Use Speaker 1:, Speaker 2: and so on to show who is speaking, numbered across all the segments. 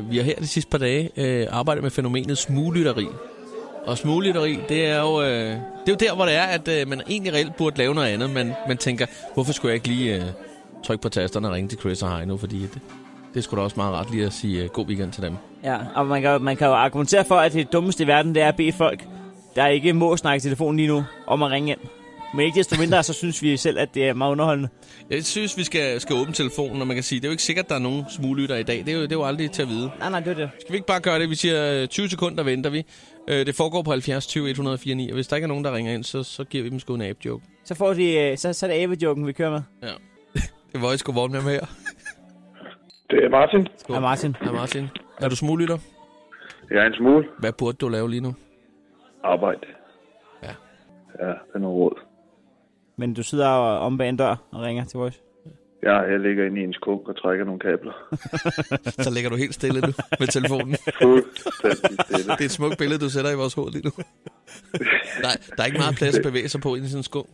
Speaker 1: Vi har her de sidste par dage øh, arbejdet med fænomenet smuglytteri. Og smuglytteri, det er jo, øh, det er jo der, hvor det er, at øh, man egentlig reelt burde lave noget andet. Men man tænker, hvorfor skulle jeg ikke lige øh, trykke på tasterne og ringe til Chris og Heino, fordi det, det skulle da også meget rart lige at sige øh, god weekend til dem.
Speaker 2: Ja, og man kan, jo- man kan jo argumentere for, at det dummeste i verden, det er at bede folk, der ikke må snakke i telefonen lige nu, om at ringe ind. Men ikke desto mindre, så synes vi selv, at det er meget underholdende.
Speaker 1: Jeg synes, vi skal, skal åbne telefonen, og man kan sige, det er jo ikke sikkert, at der er nogen smuglytter i dag. Det er, jo, det er jo aldrig til at vide.
Speaker 2: Nej, nej, det er det.
Speaker 1: Skal vi ikke bare gøre det? Vi siger øh, 20 sekunder venter vi. Øh, det foregår på 70 20 104 9, og hvis der ikke er nogen, der ringer ind, så, så giver vi dem sgu en abe-joke.
Speaker 2: Så, får de, øh, så, så er det abe-joken, vi kører med.
Speaker 1: Det var jeg sgu vågne med her.
Speaker 3: Det er Martin.
Speaker 2: Ja, Martin.
Speaker 1: Hej Martin. Er du smuglytter?
Speaker 3: Jeg er en smule.
Speaker 1: Hvad burde du lave lige nu?
Speaker 3: Arbejde.
Speaker 1: Ja.
Speaker 3: Ja, det er noget råd.
Speaker 2: Men du sidder og om bag en dør og ringer til Voice.
Speaker 3: Ja, jeg ligger inde i en skunk og trækker nogle kabler.
Speaker 1: Så ligger du helt stille nu med telefonen.
Speaker 3: Fuldstændig stille.
Speaker 1: Det er et smukt billede, du sætter i vores hoved lige nu. Nej, der er ikke meget plads at bevæge sig på ind i sådan en skunk.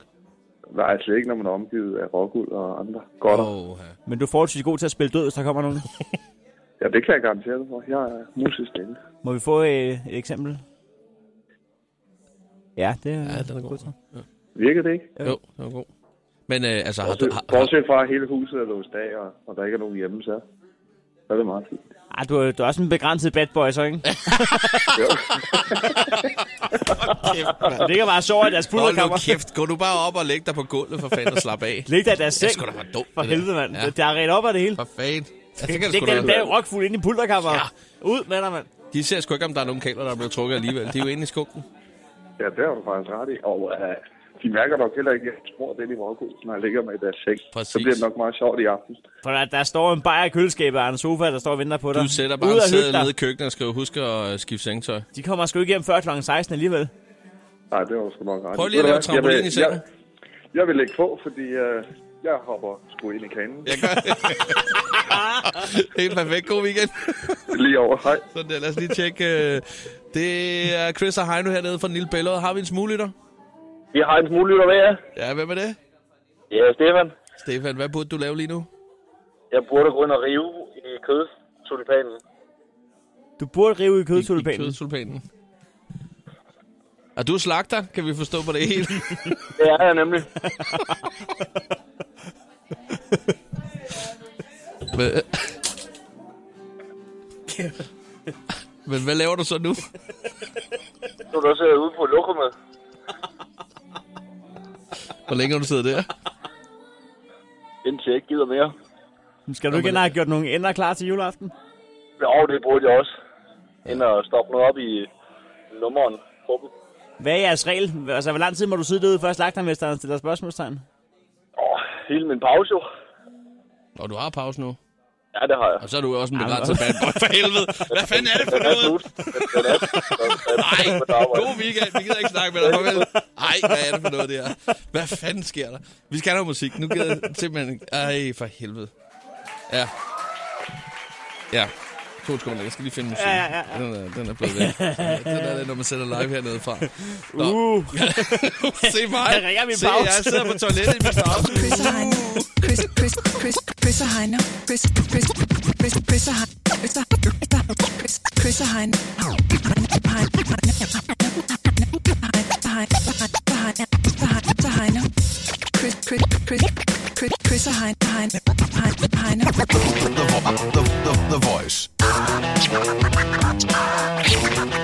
Speaker 3: Nej, slet ikke, når man er omgivet af rockuld og andre. Godt. Oh.
Speaker 1: Åh, ja.
Speaker 2: Men du er forholdsvis god til at spille død, hvis der kommer nogen.
Speaker 3: Ja, det kan jeg garantere dig for. Jeg er musisk stille.
Speaker 2: Må vi få øh, et eksempel? Ja, det er,
Speaker 1: ja, den er god.
Speaker 3: Virker det ikke?
Speaker 1: Jo, den er god. Men øh, altså, har du...
Speaker 3: Bortset,
Speaker 1: Har, har,
Speaker 3: bortset fra, at hele huset er låst af, og, og der ikke er nogen hjemme, så så er det meget fint.
Speaker 2: Ah, du, er, du er også en begrænset bad boy, så, ikke?
Speaker 3: Jo.
Speaker 2: Det kan bare sove i deres
Speaker 1: hold nu
Speaker 2: pulverkammer.
Speaker 1: kæft, gå du bare op og læg dig på gulvet for fanden og slap af.
Speaker 2: Læg dig i deres
Speaker 1: Det er
Speaker 2: seng.
Speaker 1: sgu da for dumt.
Speaker 2: For
Speaker 1: det der.
Speaker 2: helvede, mand.
Speaker 1: Ja,
Speaker 2: Ja. Der er ret op af det hele.
Speaker 1: for fanden. Ja, det kan det
Speaker 2: Læg
Speaker 1: sgu
Speaker 2: den
Speaker 1: da.
Speaker 2: der rockfuld ind i pulterkammeret.
Speaker 1: Ja.
Speaker 2: Ja. Ud med dig, mand.
Speaker 1: De ser sgu ikke, om der er nogen kabler, der er blevet trukket alligevel. De er jo inde i skunken.
Speaker 3: Ja, det har du faktisk ret i. Og uh, de mærker nok heller ikke, at jeg tror, det er i rockuld, når jeg ligger med i deres seng.
Speaker 1: Præcis.
Speaker 3: Så bliver det nok meget sjovt i aften.
Speaker 2: For der, der står en bajer i køleskabet og en sofa, der står og venter på dig.
Speaker 1: Du sætter bare
Speaker 2: Ud
Speaker 1: en
Speaker 2: og hygge
Speaker 1: sæde
Speaker 2: dig.
Speaker 1: nede i køkkenet og skriver, husk at øh, skifte sengtøj.
Speaker 2: De kommer sgu ikke hjem før kl. 16 alligevel.
Speaker 3: Nej, det var du sgu nok ret. i.
Speaker 1: Prøv lige at lave
Speaker 3: Ved du hvad?
Speaker 1: trampolin i
Speaker 3: Jeg vil-
Speaker 1: sengen.
Speaker 3: Jeg, jeg vil ikke få, fordi øh, jeg hopper sgu ind i kanen.
Speaker 1: Jeg gør Helt perfekt. God weekend.
Speaker 3: Lige over. Hej.
Speaker 1: Sådan der, lad os lige tjekke. øh, Det er Chris og Heino hernede fra Lille Bællerød. Har vi en smuglytter?
Speaker 4: Jeg har en smule lytter med jer.
Speaker 1: Ja, hvem er det?
Speaker 4: Ja, Stefan.
Speaker 1: Stefan, hvad burde du lave lige nu?
Speaker 4: Jeg burde gå ind og rive i kødtulipanen.
Speaker 2: Du burde rive i
Speaker 1: I- i
Speaker 2: kødtulipanen.
Speaker 1: Kødsulpanen. Og du er slagter, kan vi forstå på det hele.
Speaker 4: Det er jeg nemlig.
Speaker 1: Men, Men hvad laver du så nu?
Speaker 4: Nu er du også ude på lokummet.
Speaker 1: Hvor længe har du siddet der?
Speaker 4: Indtil jeg ikke gider mere.
Speaker 2: Skal du ikke have gjort nogle ender klar til juleaften?
Speaker 4: Jo, det burde jeg også. Ind og stoppe noget op i nummeren. Gruppen.
Speaker 2: Hvad er jeres regel? Altså, hvor lang tid må du sidde derude, før slagtermesteren stiller spørgsmålstegn?
Speaker 4: Åh, hele min pause jo.
Speaker 1: Og du har pause nu.
Speaker 4: Ja, det har jeg.
Speaker 1: Og så er du også en begrænset bad boy for helvede. Hvad fanden er det for
Speaker 4: Den er
Speaker 1: noget?
Speaker 4: slut. Den- Den er slut.
Speaker 1: Nej, god weekend. Vi gider ikke snakke med dig. Farvel. Ej, hvad er det for noget, det her? Hvad fanden sker der? Vi skal have noget musik. Nu gider jeg simpelthen ikke. Ej, for helvede. Ja. Ja. To sekunder. Jeg skal lige finde musik.
Speaker 2: Ja, ja, ja.
Speaker 1: Den, er, den er blevet væk. Den er det, når man sætter live hernede fra. Nå.
Speaker 2: Uh,
Speaker 1: Se mig.
Speaker 2: Jeg ringer min
Speaker 1: Se,
Speaker 2: pause.
Speaker 1: jeg sidder på toilettet i min pause.
Speaker 5: Chris og Heino. Chris, Chris, Chris, Chris og Heino. Chris, Chris, Chris, Chris og Heino. Chris og Heino. Chris, Chris og Heino. Heino. Chris, Chris, Chris, Chris, Chris og Heino. Heino. Heino.
Speaker 6: The, Vo- the, the, the Voice.